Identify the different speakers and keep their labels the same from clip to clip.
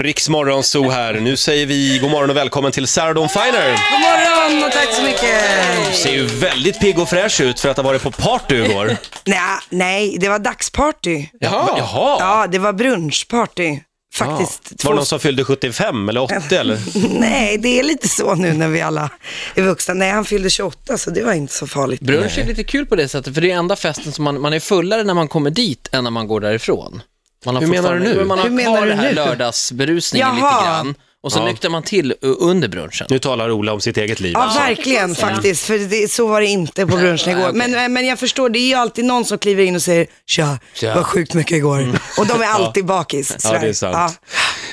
Speaker 1: Riksmorgon så här. Nu säger vi god morgon och välkommen till Sarah Dawn Finer.
Speaker 2: God morgon och tack så mycket!
Speaker 1: Du ser ju väldigt pigg och fräsch ut för att ha varit på party igår.
Speaker 2: Nej, nej, det var dagsparty.
Speaker 1: Jaha. Jaha.
Speaker 2: Ja, det var brunchparty. Faktiskt.
Speaker 1: Var det någon som fyllde 75 eller 80 eller?
Speaker 2: Nej, det är lite så nu när vi alla är vuxna. Nej, han fyllde 28 så det var inte så farligt.
Speaker 3: Brunch är lite kul på det sättet, för det är enda festen som man, man är fullare när man kommer dit än när man går därifrån. Man har
Speaker 1: Hur menar du
Speaker 3: fortfarande-
Speaker 1: nu?
Speaker 3: men Man har
Speaker 2: Hur menar
Speaker 3: kvar
Speaker 2: du
Speaker 3: det här
Speaker 2: nu?
Speaker 3: lördagsberusningen
Speaker 2: Jaha.
Speaker 3: lite grann och så
Speaker 1: Ja.
Speaker 3: nyktrar man till eh, under brunchen.
Speaker 1: Nu talar Ola om sitt eget liv.
Speaker 2: Ja,
Speaker 1: alltså.
Speaker 2: verkligen faktiskt. För det, så var det inte på brunchen
Speaker 3: nej,
Speaker 2: igår.
Speaker 3: okej.
Speaker 2: Men, men jag förstår, det är ju alltid någon som kliver in och säger tja, det var sjukt mycket igår. Och de är alltid bakis.
Speaker 1: Mm. Ja, det är sant.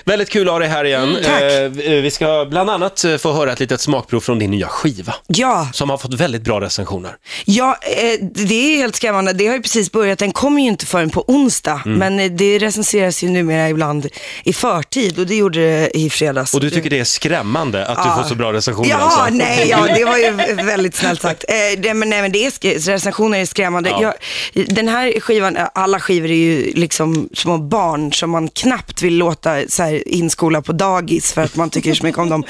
Speaker 1: Väldigt kul att ha dig här igen.
Speaker 2: Mm, tack.
Speaker 1: Eh, vi ska bland annat eh, få höra ett litet smakprov från din nya skiva,
Speaker 2: Ja,
Speaker 1: som har fått väldigt bra recensioner.
Speaker 2: Ja, eh, det är helt skrämmande. Det har ju precis börjat. Den kommer ju inte förrän på onsdag.
Speaker 1: Mm.
Speaker 2: Men eh, det recenseras ju numera ibland i förtid och det gjorde det i fredags.
Speaker 1: Och du tycker det är skrämmande att du
Speaker 2: Mm. Ja.
Speaker 1: får så bra recensioner?
Speaker 2: Ja,
Speaker 1: alltså.
Speaker 2: nej, ja, det var ju väldigt snällt sagt. Eh, det, men, nej, men det är sk- recensioner är skrämmande.
Speaker 1: Ja.
Speaker 2: Jag, den här skivan, eh, alla skivor är ju liksom små barn som man knappt vill låta så här, inskola på dagis för att man tycker så mycket om dem.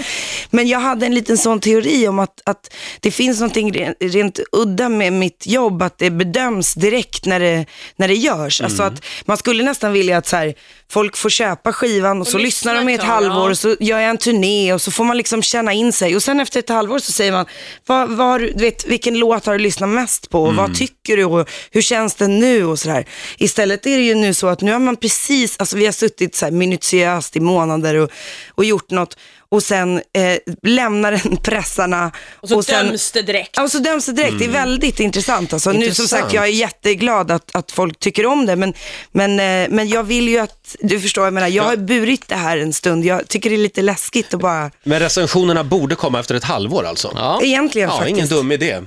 Speaker 2: Men jag hade en liten sån teori om att, att det finns någonting rent, rent udda med mitt jobb, att det bedöms direkt när det, när det görs. Alltså
Speaker 1: Mm.
Speaker 2: att man skulle nästan vilja att så här, folk får köpa skivan och, så lyssnar de i ett
Speaker 4: lyssnar ett tag,
Speaker 2: halvår
Speaker 4: ja.
Speaker 2: och så gör jag en turné och så får man liksom känna in sig. Och sen efter ett halvår så säger man, vad, vad har du, du vet, vilken låt har du lyssnat mest på? Och Vad tycker du? Och hur känns den nu? Och sådär. Istället är det ju nu så att nu har man precis, alltså vi har suttit så här minutiöst i månader och, och gjort något. Och sen eh, lämnar den pressarna.
Speaker 4: Och så
Speaker 2: sen-
Speaker 4: döms det direkt.
Speaker 2: Ja, och Alltså, så döms det direkt. Det är väldigt intressant. Alltså. Nu som
Speaker 1: Mm. Intressant.
Speaker 2: sagt, jag är jätteglad att, att folk tycker om det, men, men, eh, men jag vill ju att, du förstår, jag menar, jag har burit det här en stund. Jag tycker det är lite läskigt att bara,
Speaker 1: Men recensionerna borde komma efter ett halvår alltså?
Speaker 3: Ja.
Speaker 2: egentligen
Speaker 1: Ja,
Speaker 2: faktiskt.
Speaker 1: ingen dum idé. Eh,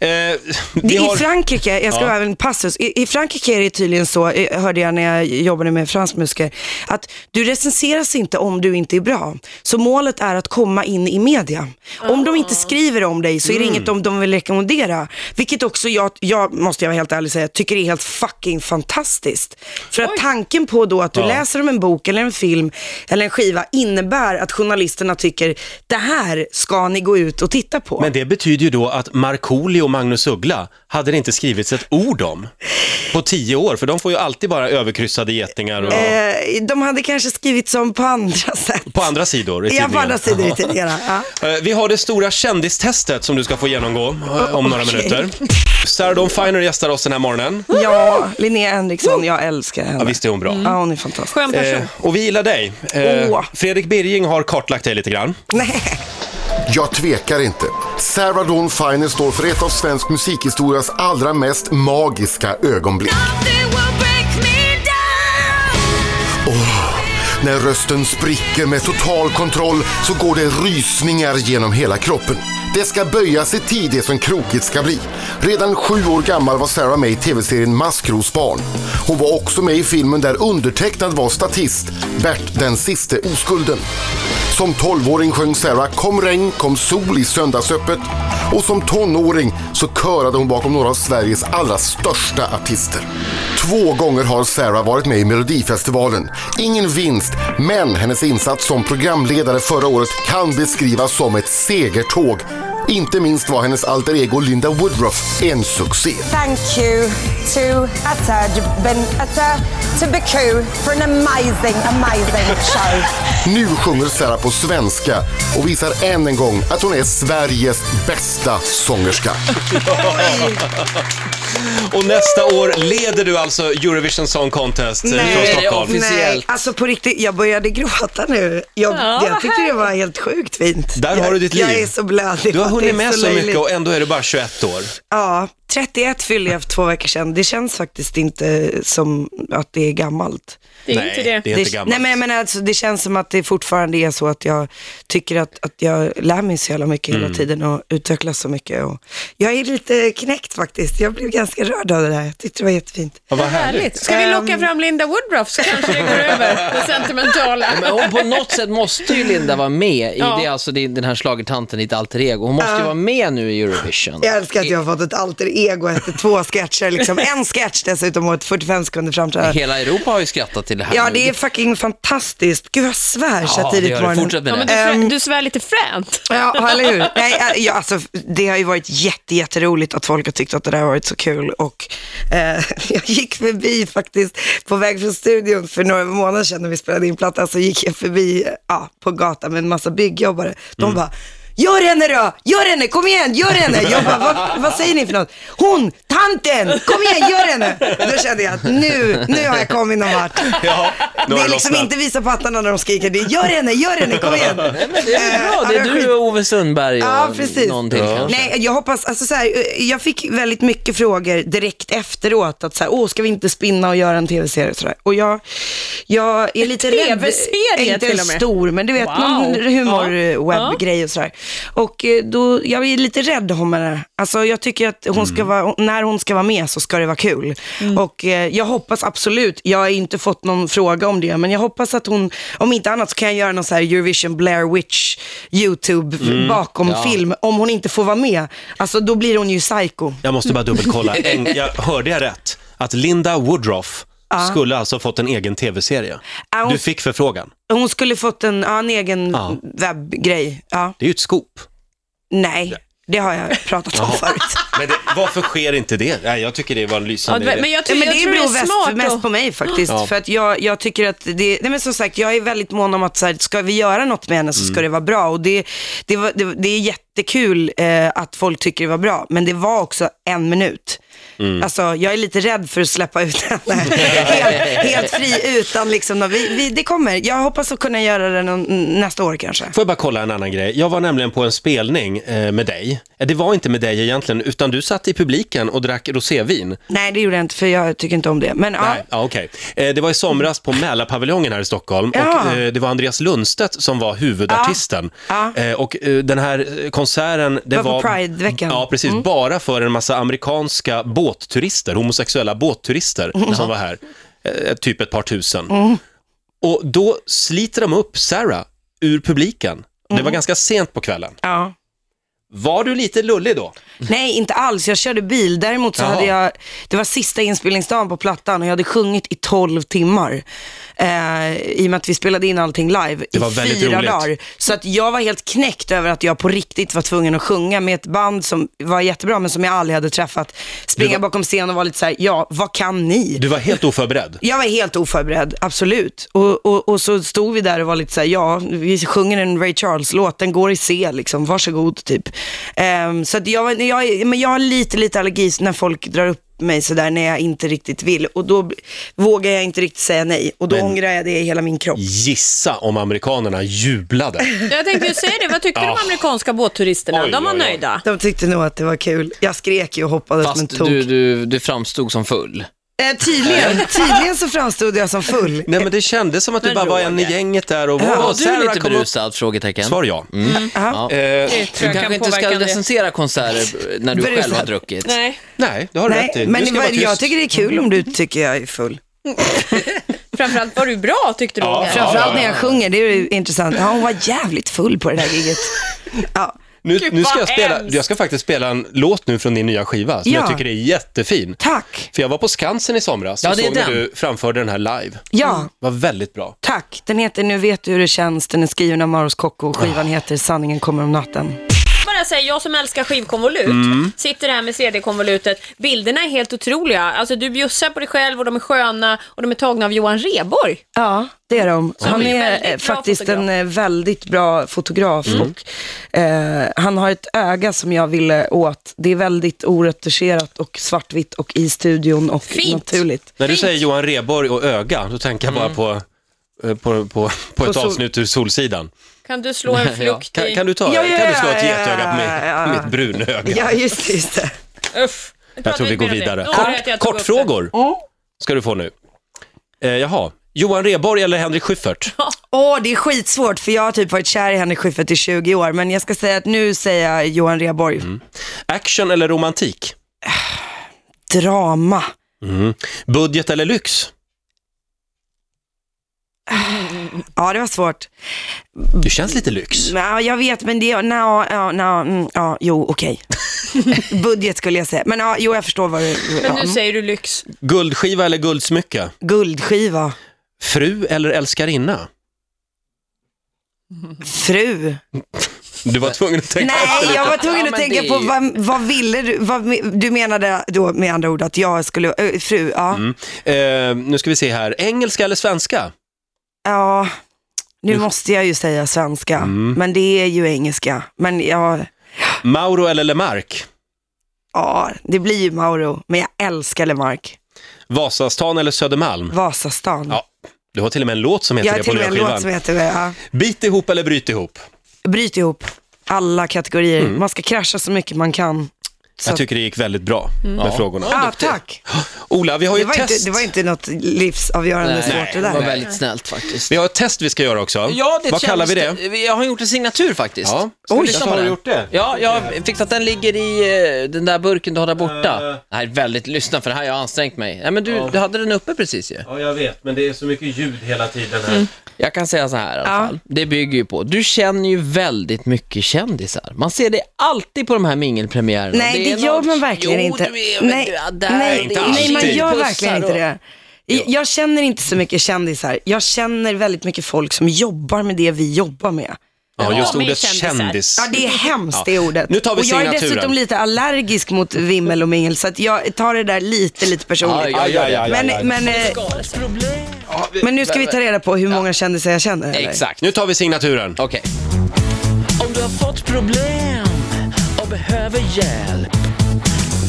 Speaker 2: Det,
Speaker 1: vi har-
Speaker 2: I Frankrike, jag ska
Speaker 1: Ja.
Speaker 2: ja. även en passus, I, i Frankrike är det tydligen så, eh, hörde jag när jag jobbade med fransk musiker, att du recenseras inte om du inte är bra. Så målet är att komma in i media. Om de inte skriver om dig så är det
Speaker 1: Mm.
Speaker 2: inget om de vill rekommendera. Vilket också jag, jag, måste jag vara helt ärlig säga, tycker är helt fucking fantastiskt. För att tanken på då att du läser om en bok eller en film eller en skiva innebär att journalisterna tycker det här ska ni gå ut och titta på.
Speaker 1: Men det betyder ju då att Markoolio och Magnus Uggla hade det inte skrivits ett ord om på tio år, för de får ju alltid bara överkryssade getingar och,
Speaker 2: Eh, de hade kanske skrivit som på andra sätt.
Speaker 1: på andra sidor i
Speaker 2: ja,
Speaker 1: tidningarna.
Speaker 2: på andra sidor i tidningarna. Ja.
Speaker 1: Eh, Vi har det stora kändistestet som du ska få genomgå eh, om några
Speaker 2: Okej.
Speaker 1: minuter. Sarah Dawn Finer gästar oss den här morgonen.
Speaker 2: ja, Linnea Henriksson, jag älskar henne.
Speaker 1: Ja, visst är hon bra.
Speaker 2: Ja, hon är fantastisk.
Speaker 4: Skön person.
Speaker 1: Eh, och vi gillar dig. Eh,
Speaker 2: Mm. Åh.
Speaker 1: Fredrik Birging har kartlagt dig lite grann.
Speaker 2: Nej.
Speaker 5: Jag tvekar inte. Sarah Dawn Finer står för ett av svensk musikhistorias allra mest magiska ögonblick. När rösten spricker med total kontroll så går det rysningar genom hela kroppen. Det ska böjas i tid det som krokigt ska bli. Redan sju år gammal var Sarah med i tv-serien Maskrosbarn. Hon var också med i filmen där undertecknad var statist, Bert den siste oskulden. Som 12-åring sjöng Sarah Kom regn, kom sol i söndagsöppet och som tonåring så körade hon bakom några av Sveriges allra största artister. Två gånger har Sarah varit med i Melodifestivalen. Ingen vinst, men hennes insats som programledare förra året kan beskrivas som ett segertåg. Inte minst var hennes alter ego Linda Woodruff en succé.
Speaker 6: thank you to Atta Ben Atta Tubaku for an amazing, amazing show.
Speaker 5: Nu sjunger Sarah på svenska och visar än en gång att hon är Sveriges bästa sångerska.
Speaker 1: Och nästa år leder du alltså Eurovision Song Contest eh,
Speaker 2: Nej,
Speaker 1: från
Speaker 2: det är
Speaker 1: Stockholm.
Speaker 2: Nej, alltså på riktigt, jag började gråta nu. Jag,
Speaker 4: Ja,
Speaker 2: jag tyckte det var helt sjukt fint.
Speaker 1: Där
Speaker 2: jag,
Speaker 1: har du ditt liv.
Speaker 2: Jag är så blödig.
Speaker 1: Du har
Speaker 2: Det
Speaker 1: hunnit
Speaker 2: är
Speaker 1: med så
Speaker 2: löjligt.
Speaker 1: mycket och ändå är du bara 21 år.
Speaker 2: Ja, 31 fyllde jag för två veckor sedan. Det känns faktiskt inte som att det är gammalt.
Speaker 4: det är
Speaker 1: Nej,
Speaker 4: inte det.
Speaker 1: det är inte
Speaker 2: Det-
Speaker 1: gammalt.
Speaker 2: Nej men jag menar alltså, det känns som att det fortfarande är så att jag tycker att, att jag lär mig
Speaker 3: Mm.
Speaker 2: så jävla mycket hela tiden och utvecklas så mycket. Och jag är lite knäckt faktiskt, jag blev ganska rörd berörd av det där. Jag tyckte det var jättefint.
Speaker 1: Ja, vad härligt.
Speaker 4: Härligt. Ska vi locka
Speaker 2: Ehm.
Speaker 4: fram Linda Woodruff så kanske det går över, det sentimentala.
Speaker 3: Men hon på något sätt måste ju Linda vara med i
Speaker 4: Ja.
Speaker 3: det, alltså det- den här schlagertanten, ditt alter ego. Hon måste ju vara med nu i Eurovision.
Speaker 2: Jag älskar att jag har fått ett alter ego efter två sketcher, liksom. en sketch dessutom och ett 45 sekunder framträdande.
Speaker 3: Hela Europa har ju skrattat till det här
Speaker 2: Ja,
Speaker 3: nu.
Speaker 2: det är fucking fantastiskt. Gud, jag svär så här
Speaker 3: Ja, det
Speaker 2: tidigt
Speaker 3: gör
Speaker 2: på
Speaker 3: det.
Speaker 2: morgonen.
Speaker 3: Fortsätt med
Speaker 4: Ja, men
Speaker 3: det.
Speaker 4: du, svär, du svär lite fränt.
Speaker 2: Ja, eller hur? Nej, äh, ja, alltså, det har ju varit jätte, jätteroligt att folk har tyckt att det där har varit så kul. Och, eh, jag gick förbi faktiskt, på väg från studion för några månader sedan när vi spelade in plattan, så gick jag förbi eh, ja, på gatan med en massa byggjobbare. De
Speaker 3: Mm.
Speaker 2: bara, Gör henne då! Gör henne! Kom igen, gör henne! Jag bara, vad, vad säger ni för något? Hon, tanten! Kom igen, gör henne! Då kände jag att nu, nu har jag kommit någon vart.
Speaker 1: Ja, nu
Speaker 2: Det
Speaker 1: har
Speaker 2: är
Speaker 1: det
Speaker 2: liksom
Speaker 1: lossnat.
Speaker 2: inte visa pattarna när de skriker, det är gör henne, gör henne, kom igen!
Speaker 3: Nej, men det är
Speaker 2: Eh,
Speaker 3: bra.
Speaker 2: ja,
Speaker 3: Det är
Speaker 2: var skit-
Speaker 3: du och Ove Sundberg och
Speaker 2: Ja, precis.
Speaker 3: någon till kanske.
Speaker 2: Nej, jag hoppas, alltså så här, eh, jag fick väldigt mycket frågor direkt efteråt, att så här, åh, ska vi inte spinna och göra en tv-serie och sådär. Och jag, jag är lite rädd.
Speaker 4: TV-serie
Speaker 2: Inte
Speaker 4: till
Speaker 2: en
Speaker 4: och med.
Speaker 2: stor, men du vet,
Speaker 4: Wow.
Speaker 2: någon
Speaker 4: Ja.
Speaker 2: humorwebbgrej och sådär. Och eh, då, jag är lite rädd om henne. Alltså jag tycker att hon ska vara, när hon ska vara med så ska det vara kul. Och eh, jag hoppas absolut, jag har inte fått någon fråga om det, men jag hoppas att hon, om inte annat så kan jag göra någon så här Eurovision Blair Witch YouTube bakom film, om hon inte får vara med. Alltså då blir hon ju psycho.
Speaker 1: Jag måste bara dubbelkolla. En, jag, hörde jag rätt? Att Linda Woodruff skulle alltså ha fått en egen tv-serie.
Speaker 2: Ja, hon-
Speaker 1: Du fick förfrågan.
Speaker 2: Hon skulle fått en, ja, en egen
Speaker 1: Ja.
Speaker 2: webbgrej. Ja.
Speaker 1: Det är ju ett scoop.
Speaker 2: Nej, det har jag pratat om förut.
Speaker 1: Men det, varför sker inte det? Nej, jag tycker det var en
Speaker 4: Ja,
Speaker 1: lysande
Speaker 4: det-
Speaker 1: idé.
Speaker 4: men jag,
Speaker 2: Ja,
Speaker 4: tror-
Speaker 2: men
Speaker 4: jag
Speaker 2: det
Speaker 4: tror
Speaker 2: beror
Speaker 4: det är smart
Speaker 2: mest, mest
Speaker 4: att-
Speaker 2: på mig faktiskt.
Speaker 1: Ja.
Speaker 2: För att jag, jag tycker att det, nej men som sagt, jag är väldigt mån om att så här, ska vi göra något med henne så
Speaker 1: Mm.
Speaker 2: ska det vara bra. Och det, det, var, det, det är jättekul eh, att folk tycker det var bra, men det var också en minut.
Speaker 1: Mm.
Speaker 2: Alltså, jag är lite rädd för att släppa ut henne helt, helt fri utan liksom, någon- vi, vi, det kommer. Jag hoppas att kunna göra det någon, nästa år kanske.
Speaker 1: Får jag bara kolla en annan grej? Jag var nämligen på en spelning eh, med dig. Eh, Det var inte med dig egentligen, utan du satt i publiken och drack rosévin.
Speaker 2: Nej, det gjorde jag inte för jag tycker inte om det. Men ja,
Speaker 1: Nej, ja, okej. Eh, Det var i somras på Mälarpaviljongen här i Stockholm
Speaker 2: Ja.
Speaker 1: och eh, det var Andreas Lundstedt som var huvudartisten.
Speaker 2: Ja.
Speaker 1: Eh, Och eh, den här konserten, det
Speaker 2: var
Speaker 1: var...
Speaker 2: på Prideveckan. Mm.
Speaker 1: Ja, precis. Bara för en massa amerikanska båtturister, homosexuella båtturister
Speaker 2: Mm.
Speaker 1: som var här. Eh, Typ ett par tusen. Och då sliter de upp Sarah ur publiken. Det
Speaker 2: Mm.
Speaker 1: var ganska sent på kvällen.
Speaker 2: ja.
Speaker 1: Var du lite lullig då?
Speaker 2: Nej, inte alls. Jag körde bil. Däremot så
Speaker 1: Jaha.
Speaker 2: hade jag, det var sista inspelningsdagen på plattan och jag hade sjungit i 12 timmar. Eh, I och med att vi spelade in allting live
Speaker 1: Det var
Speaker 2: i
Speaker 1: väldigt
Speaker 2: fyra
Speaker 1: roligt.
Speaker 2: dagar. Så att jag var helt knäckt över att jag på riktigt var tvungen att sjunga med ett band som var jättebra men som jag aldrig hade träffat. Springa
Speaker 1: Du var-
Speaker 2: bakom scen och vara lite så här, ja, vad kan ni?
Speaker 1: Du var helt oförberedd.
Speaker 2: Jag var helt oförberedd, absolut. Och, och, och så stod vi där och var lite såhär, ja, vi sjunger en Ray Charles-låt, den går i C liksom, varsågod typ. Um, så att jag, var- jag, men jag har lite, lite allergi när folk drar upp mig sådär när jag inte riktigt vill och då b- vågar jag inte riktigt säga nej och då
Speaker 1: Men-
Speaker 2: ångrar jag det i hela min kropp.
Speaker 1: Gissa om amerikanerna jublade.
Speaker 4: Jag tänkte ju säga det, vad tyckte de amerikanska båtturisterna?
Speaker 1: Oj,
Speaker 4: de var
Speaker 1: oj, oj.
Speaker 4: nöjda.
Speaker 2: De tyckte nog att det var kul. Jag skrek ju och hoppades som en
Speaker 3: Fast
Speaker 2: tok.
Speaker 3: du, du, du framstod som full.
Speaker 2: Eh, tydligen, tydligen så framstod jag som full.
Speaker 1: Nej men det kändes som att du
Speaker 4: Men
Speaker 1: bara var
Speaker 4: Roger.
Speaker 1: en i gänget där och
Speaker 3: Var
Speaker 1: wow,
Speaker 3: du
Speaker 1: Sarah
Speaker 3: lite
Speaker 1: kom upp.
Speaker 3: berusad? Frågetecken.
Speaker 1: Svar ja.
Speaker 3: Mm.
Speaker 2: Ja.
Speaker 3: Ja.
Speaker 1: Eh,
Speaker 4: Det
Speaker 3: Du
Speaker 4: tror jag
Speaker 3: kanske
Speaker 4: kan
Speaker 3: inte ska liksom-
Speaker 4: påverka det.
Speaker 3: recensera konserter när du
Speaker 2: Berusad.
Speaker 3: själv har druckit.
Speaker 4: Nej,
Speaker 1: nej, det har du rätt i.
Speaker 2: Nej,
Speaker 1: Du
Speaker 2: men
Speaker 1: ska vara
Speaker 2: vad- jag
Speaker 1: tyst.
Speaker 2: tycker det är kul om du tycker jag är full.
Speaker 4: framförallt var du bra tyckte du.
Speaker 1: Ja,
Speaker 4: Roger.
Speaker 1: framför-
Speaker 2: Framförallt när jag sjunger, det är ju intressant. Ja, hon var jävligt full på det där giget. Ja.
Speaker 1: Nu,
Speaker 4: Gud,
Speaker 1: nu ska jag
Speaker 4: vad
Speaker 1: spela,
Speaker 4: hemskt.
Speaker 1: jag ska faktiskt spela en låt nu från din nya skiva som
Speaker 2: Ja.
Speaker 1: jag tycker är jättefin.
Speaker 2: Tack.
Speaker 1: För jag var på Skansen i somras
Speaker 3: Ja,
Speaker 1: och
Speaker 3: det är
Speaker 1: såg när
Speaker 3: den.
Speaker 1: du framförde den här live. Mm.
Speaker 2: Ja,
Speaker 1: var väldigt bra.
Speaker 2: tack. Den heter Nu vet du hur det känns, den är skriven av Maros Kocko och skivan heter Sanningen kommer om natten.
Speaker 4: bara säga, jag som älskar skivkonvolut, sitter här med CD-konvolutet. Bilderna är helt otroliga. Alltså du bjussar på dig själv och de är sköna och de är tagna av Johan Rehborg.
Speaker 2: Ja, det är de. Han
Speaker 4: är
Speaker 2: är
Speaker 4: väldigt
Speaker 2: eh,
Speaker 4: bra
Speaker 2: faktiskt
Speaker 4: fotograf.
Speaker 2: en eh, väldigt bra fotograf och eh, han har ett öga som jag ville åt. Det är väldigt oretuscherat och svartvitt och i studion och
Speaker 4: Fint.
Speaker 2: naturligt.
Speaker 1: När du
Speaker 4: Fint.
Speaker 1: säger Johan Reborg och öga, då tänker jag bara på, eh, på, på, på ett
Speaker 2: sol-
Speaker 1: avsnitt ur Solsidan.
Speaker 4: Kan du slå en flukt
Speaker 1: Kan,
Speaker 4: i...
Speaker 1: kan, du ta,
Speaker 2: Ja, ja,
Speaker 1: kan du slå ett
Speaker 2: ja,
Speaker 1: getöga på
Speaker 2: ja,
Speaker 1: mitt,
Speaker 2: ja.
Speaker 1: mitt brunöga?
Speaker 2: Ja, just det. Just det.
Speaker 4: Uff. Nu
Speaker 1: Jag
Speaker 4: pratar
Speaker 1: tror vi
Speaker 4: inte
Speaker 1: går
Speaker 4: mer om det.
Speaker 1: vidare.
Speaker 4: Då var det att jag
Speaker 1: Kort,
Speaker 4: tog upp det.
Speaker 1: kortfrågor ska du få nu. Eh, jaha, Johan Reborg eller Henrik Schyffert?
Speaker 2: Åh, det är skitsvårt för jag har typ varit kär i Henrik Schyffert i 20 år. Men jag ska säga att nu säger jag Johan Rheborg.
Speaker 1: Action eller romantik?
Speaker 2: drama.
Speaker 1: Mm. Budget eller lyx?
Speaker 2: Ja, det var svårt.
Speaker 1: Du känns lite lyx.
Speaker 2: Ja, jag vet, men det... No, no, mm, ja, jo, okej. Budget skulle jag säga. Men ja, jo, jag förstår vad du...
Speaker 4: Men
Speaker 2: Ja,
Speaker 1: Mm.
Speaker 4: nu säger du lyx.
Speaker 1: Guldskiva eller guldsmycke?
Speaker 2: guldskiva.
Speaker 1: Fru eller älskarinna?
Speaker 2: Fru.
Speaker 1: Du var tvungen att tänka
Speaker 2: Nej, jag var tvungen
Speaker 3: Ja,
Speaker 2: att
Speaker 3: men
Speaker 2: tänka
Speaker 3: det
Speaker 2: på
Speaker 3: är ju-
Speaker 2: vad, vad ville du? Vad, me- du menade då med andra ord att jag skulle... Ö, fru, ja.
Speaker 1: Eh, nu ska vi se här. Engelska eller svenska?
Speaker 2: Ja, nu måste jag ju säga svenska, men det är ju engelska. Men jag,
Speaker 1: Mauro eller Lemark?
Speaker 2: ja, det blir ju Mauro, men jag älskar Lemark.
Speaker 1: Vasastan eller Södermalm?
Speaker 2: Vasastan.
Speaker 1: Ja, du har till och med en låt som
Speaker 2: jag
Speaker 1: heter
Speaker 2: har
Speaker 1: det på
Speaker 2: till och med en låt som
Speaker 1: låtskivan.
Speaker 2: heter det. Ja.
Speaker 1: Bit ihop eller bryt ihop?
Speaker 2: Bryt ihop alla kategorier. Man ska krascha så mycket man kan. Så
Speaker 1: Jag
Speaker 2: att-
Speaker 1: tycker det gick väldigt bra med
Speaker 3: Ja.
Speaker 1: frågorna.
Speaker 2: ah, tack.
Speaker 1: Ola, vi har ju
Speaker 2: Det
Speaker 1: ett
Speaker 2: var, inte,
Speaker 1: test.
Speaker 2: det var inte något livsavgörande svårt det
Speaker 3: det var
Speaker 2: där.
Speaker 3: väldigt snällt faktiskt.
Speaker 1: Vi har ett test vi ska göra också.
Speaker 3: Ja, det
Speaker 1: Vad kallar vi det?
Speaker 3: kändes- Jag har gjort en signatur faktiskt.
Speaker 1: Ja.
Speaker 3: Ska vi
Speaker 1: Oj,
Speaker 3: lyssna
Speaker 1: så
Speaker 3: på
Speaker 1: har
Speaker 3: den?
Speaker 1: du gjort det?
Speaker 3: Ja, jag har fixat den ligger i eh, den där burken du har där
Speaker 1: Eh.
Speaker 3: borta. Det här är väldigt, lyssna för det här har jag ansträngt mig. Nej men du, du hade den uppe precis ju. Mm.
Speaker 1: Ja, jag vet, men det är så mycket ljud hela tiden här.
Speaker 3: Jag kan säga så här i alla fall. Det bygger ju på, du känner ju väldigt mycket kändisar. Man ser det alltid på de här mingelpremiärerna.
Speaker 2: Nej, det,
Speaker 3: är
Speaker 2: gör
Speaker 3: någon-
Speaker 2: man verkligen
Speaker 3: jo,
Speaker 2: inte.
Speaker 3: Du är,
Speaker 2: nej,
Speaker 3: du är där,
Speaker 2: nej,
Speaker 1: inte
Speaker 2: nej, man
Speaker 1: alltid.
Speaker 2: gör
Speaker 3: Pussar
Speaker 2: verkligen inte
Speaker 3: och-
Speaker 2: det. I- Jag känner inte så mycket kändisar. Jag känner väldigt mycket folk som jobbar med det vi jobbar med.
Speaker 1: Ja, just
Speaker 4: Ja, men
Speaker 1: ordet
Speaker 4: kändisar.
Speaker 1: kändis.
Speaker 2: Ja, det är hemskt det ordet.
Speaker 1: Nu tar vi
Speaker 2: och jag är
Speaker 1: signaturen.
Speaker 2: dessutom lite allergisk mot vimmel och mingel, så att jag tar det där lite, lite personligt.
Speaker 3: Ja, ja, ja, ja,
Speaker 1: ja, ja.
Speaker 2: Men, men, eh, men nu ska vi ta reda på hur många kändisar jag känner. Eller?
Speaker 3: Exakt.
Speaker 1: Nu tar vi signaturen.
Speaker 3: Okej. Om du har fått problem och behöver hjälp,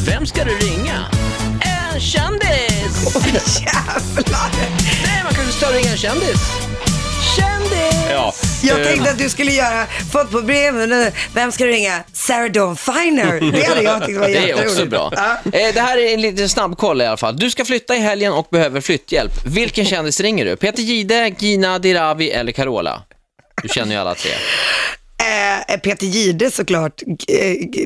Speaker 3: vem ska du ringa? En kändis!
Speaker 2: Jävlar!
Speaker 3: Nej, man kanske ska ringa en kändis. Kändis!
Speaker 1: Ja.
Speaker 2: Jag
Speaker 1: eh,
Speaker 2: tänkte att du skulle göra, fått på breven nu, vem ska du ringa? Sarah Dawn Finer. Det hade jag tyckt var
Speaker 3: Det
Speaker 2: jätteroligt.
Speaker 3: är också bra.
Speaker 2: Ja.
Speaker 3: Eh, Det här är en liten snabbkoll i alla fall. Du ska flytta i helgen och behöver flytthjälp. Vilken kändis ringer du? Peter Gide, Gina Dirawi eller Carola? Du känner ju alla tre.
Speaker 2: Eh, Peter Gide såklart.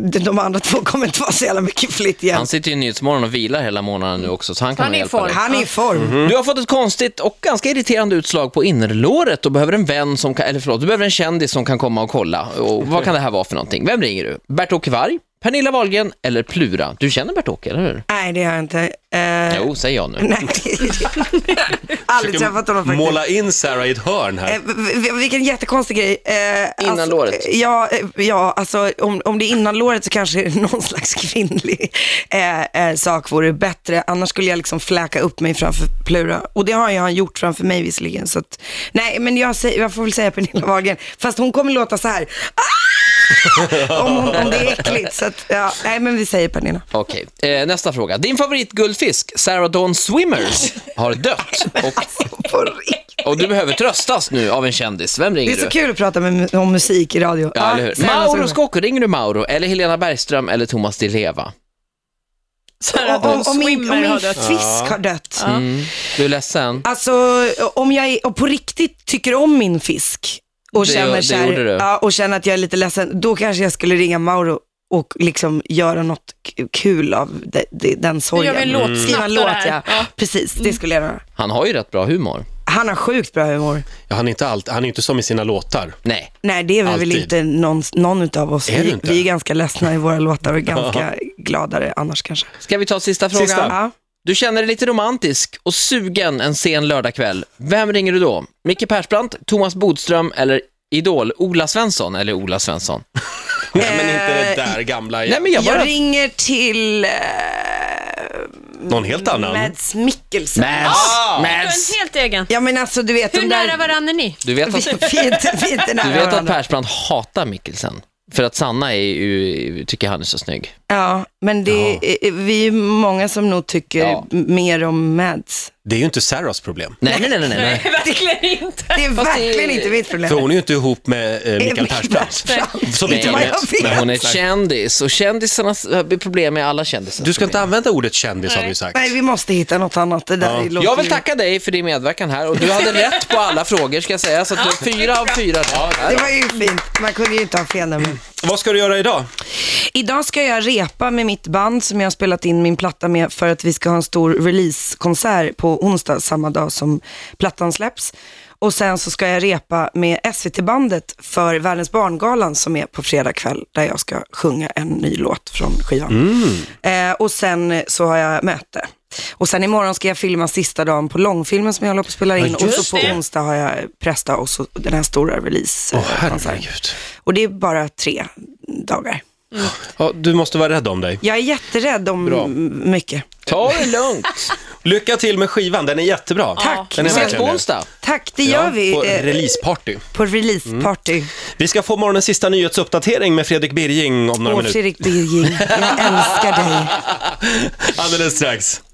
Speaker 2: Eh, De andra två kommer inte vara så jävla mycket flytt igen.
Speaker 3: Han sitter ju i Nyhetsmorgon och vilar hela månaden nu också, så han kan
Speaker 4: Han
Speaker 3: nog
Speaker 4: är i
Speaker 3: hjälpa
Speaker 4: form.
Speaker 3: dig.
Speaker 2: Han är i form.
Speaker 3: Du har fått ett konstigt och ganska irriterande utslag på innerlåret och behöver en vän som kan, eller förlåt, du behöver en kändis som kan komma och kolla. Och vad kan det här vara för någonting? Vem ringer du? Bert-Åke Varg, Pernilla Wahlgren eller Plura? Du känner Bert-Åke, eller hur?
Speaker 2: Nej, det har jag inte. Eh,
Speaker 3: Jo, säger jag nu.
Speaker 2: Nej, aldrig träffat honom faktiskt.
Speaker 1: Måla in Sarah i ett hörn här.
Speaker 2: Eh, v- v- vilken jättekonstig grej. Eh, alltså,
Speaker 3: låret.
Speaker 2: Ja, eh, ja alltså, om, om det är innan låret så kanske någon slags kvinnlig eh, eh, sak vore bättre. Annars skulle jag liksom fläka upp mig framför Plura. Och det har ju han gjort framför mig visserligen. Så att, nej, men jag, säger, jag får väl säga Pernilla Wahlgren. Fast hon kommer låta så här. Ah! om, hon, om det är äckligt. Så att, ja, nej, men vi säger Pernilla.
Speaker 3: Okej, eh, nästa fråga. Din favoritguldfisk, Sarah Dawn Swimmers, har dött. Och,
Speaker 2: På riktigt.
Speaker 3: och du behöver tröstas nu av en kändis. Vem
Speaker 2: Det
Speaker 3: ringer
Speaker 2: är så
Speaker 3: du?
Speaker 2: kul att prata med, mu- om musik i radio. Ah,
Speaker 3: Ja, eller hur?
Speaker 2: säg någon som-
Speaker 3: Mauro Scocco, ringer du Mauro? Eller Helena Bergström eller Thomas Di Leva?
Speaker 4: Sarah
Speaker 2: om,
Speaker 4: Dawn
Speaker 2: om, om min, om
Speaker 4: Swimmer
Speaker 2: min
Speaker 4: har dött.
Speaker 2: fisk har dött.
Speaker 3: Du är ledsen?
Speaker 2: Alltså om jag är, och på riktigt tycker om min fisk och
Speaker 3: Det-
Speaker 2: känner,
Speaker 3: det
Speaker 2: så här-
Speaker 3: gjorde du.
Speaker 2: ja, och känner att jag är lite ledsen, då kanske jag skulle ringa Mauro och liksom göra något k- kul av de, de, den sorgen. Mm.
Speaker 4: gör vi en låt snabbt
Speaker 2: Skriva en
Speaker 4: av det
Speaker 2: låt, ja.
Speaker 4: här. Ja. Mm.
Speaker 2: Precis, det skulle jag göra.
Speaker 3: Han har ju rätt bra humor.
Speaker 2: Han har sjukt bra humor.
Speaker 1: Ja, han, är inte allt, han är inte som i sina låtar.
Speaker 3: Nej.
Speaker 2: Nej, det är vi väl
Speaker 1: Alltid.
Speaker 2: inte någon, någon utav oss.
Speaker 1: Är du
Speaker 2: Vi,
Speaker 1: inte?
Speaker 2: vi är ganska ledsna i våra låtar och ganska gladare annars kanske.
Speaker 3: Ska vi ta sista frågan?
Speaker 1: Sista.
Speaker 2: Ja.
Speaker 3: Du känner dig lite romantisk och sugen en sen lördagkväll. Vem ringer du då? Micke Persbrandt, Thomas Bodström eller Idol-Ola Svensson? Eller Ola Svensson?
Speaker 1: Nej, men inte det där gamla.
Speaker 3: Nej, men jag bara...
Speaker 2: Jag ringer till eh,
Speaker 1: Någon helt annan.
Speaker 2: Mads Mikkelsen.
Speaker 3: Mads!
Speaker 4: Du
Speaker 3: Mads!
Speaker 4: är en helt egen.
Speaker 2: Ja men alltså du vet
Speaker 4: Hur
Speaker 2: de där...
Speaker 4: nära varandra är ni?
Speaker 3: Du vet att...
Speaker 2: Vi, vi är inte, vi är inte nära
Speaker 3: Du vet att
Speaker 2: varandra.
Speaker 3: Persbrandt hatar Mikkelsen? För att Sanna är ju, tycker han är så snygg.
Speaker 2: Ja, men det, är- vi är ju många som nog tycker
Speaker 3: Ja.
Speaker 2: m- mer om Mads.
Speaker 1: Det är ju inte Sarahs problem.
Speaker 3: Nej, nej, nej, nej. nej.
Speaker 4: Verkligen inte.
Speaker 2: Det är
Speaker 3: Fast det är-
Speaker 2: verkligen inte mitt problem.
Speaker 1: För hon är ju inte ihop med eh, Mikael
Speaker 2: Mikael
Speaker 1: Persbrandt. Så vitt
Speaker 2: Inte
Speaker 1: jag
Speaker 2: vad
Speaker 1: vet.
Speaker 2: jag vet.
Speaker 3: Men hon är
Speaker 1: Nej.
Speaker 3: kändis och kändisarnas eh, problem med alla kändisar.
Speaker 1: Du ska inte använda ordet kändis har
Speaker 4: Nej.
Speaker 1: vi sagt.
Speaker 2: Nej, vi måste hitta något annat. Det där låter
Speaker 3: Jag vill
Speaker 2: ju-
Speaker 3: tacka dig för din medverkan här och du hade rätt på alla frågor ska jag säga, så att du har fyra av fyra rätt.
Speaker 2: Det var ju fint. Man kunde ju inte ha fel nummer.
Speaker 1: Vad ska du göra idag?
Speaker 2: Idag ska jag repa med mitt band som jag har spelat in min platta med för att vi ska ha en stor releasekonsert på onsdag samma dag som plattan släpps. Och sen så ska jag repa med SVT-bandet för Världens barngalan som är på fredag kväll där jag ska sjunga en ny låt från skivan.
Speaker 1: Mm.
Speaker 2: Eh, och sen så har jag möte. Och sen imorgon ska jag filma sista dagen på långfilmen som jag håller på att spela in. och
Speaker 1: just
Speaker 2: så på
Speaker 4: det.
Speaker 2: onsdag har jag presta och så den här stora release.
Speaker 1: Åh,
Speaker 2: eh, konsert.
Speaker 1: herregud.
Speaker 2: och det är bara tre dagar.
Speaker 1: Ja, du måste vara rädd om dig.
Speaker 2: Jag är jätterädd om
Speaker 1: Bra.
Speaker 2: mycket.
Speaker 3: Ta det lugnt.
Speaker 1: Lycka till med skivan, den är jättebra.
Speaker 2: Tack.
Speaker 1: Den
Speaker 3: Vi
Speaker 1: är
Speaker 3: ses på
Speaker 1: verkligen det.
Speaker 3: onsdag.
Speaker 2: Tack, det gör
Speaker 1: Ja,
Speaker 2: vi.
Speaker 1: På Mm.
Speaker 2: eh,
Speaker 1: releaseparty.
Speaker 2: på releaseparty.
Speaker 1: Vi ska få morgonens sista nyhetsuppdatering med Fredrik Birging om några
Speaker 2: Åh,
Speaker 1: minuter.
Speaker 2: Fredrik Birging, jag älskar dig.
Speaker 1: Alldeles strax.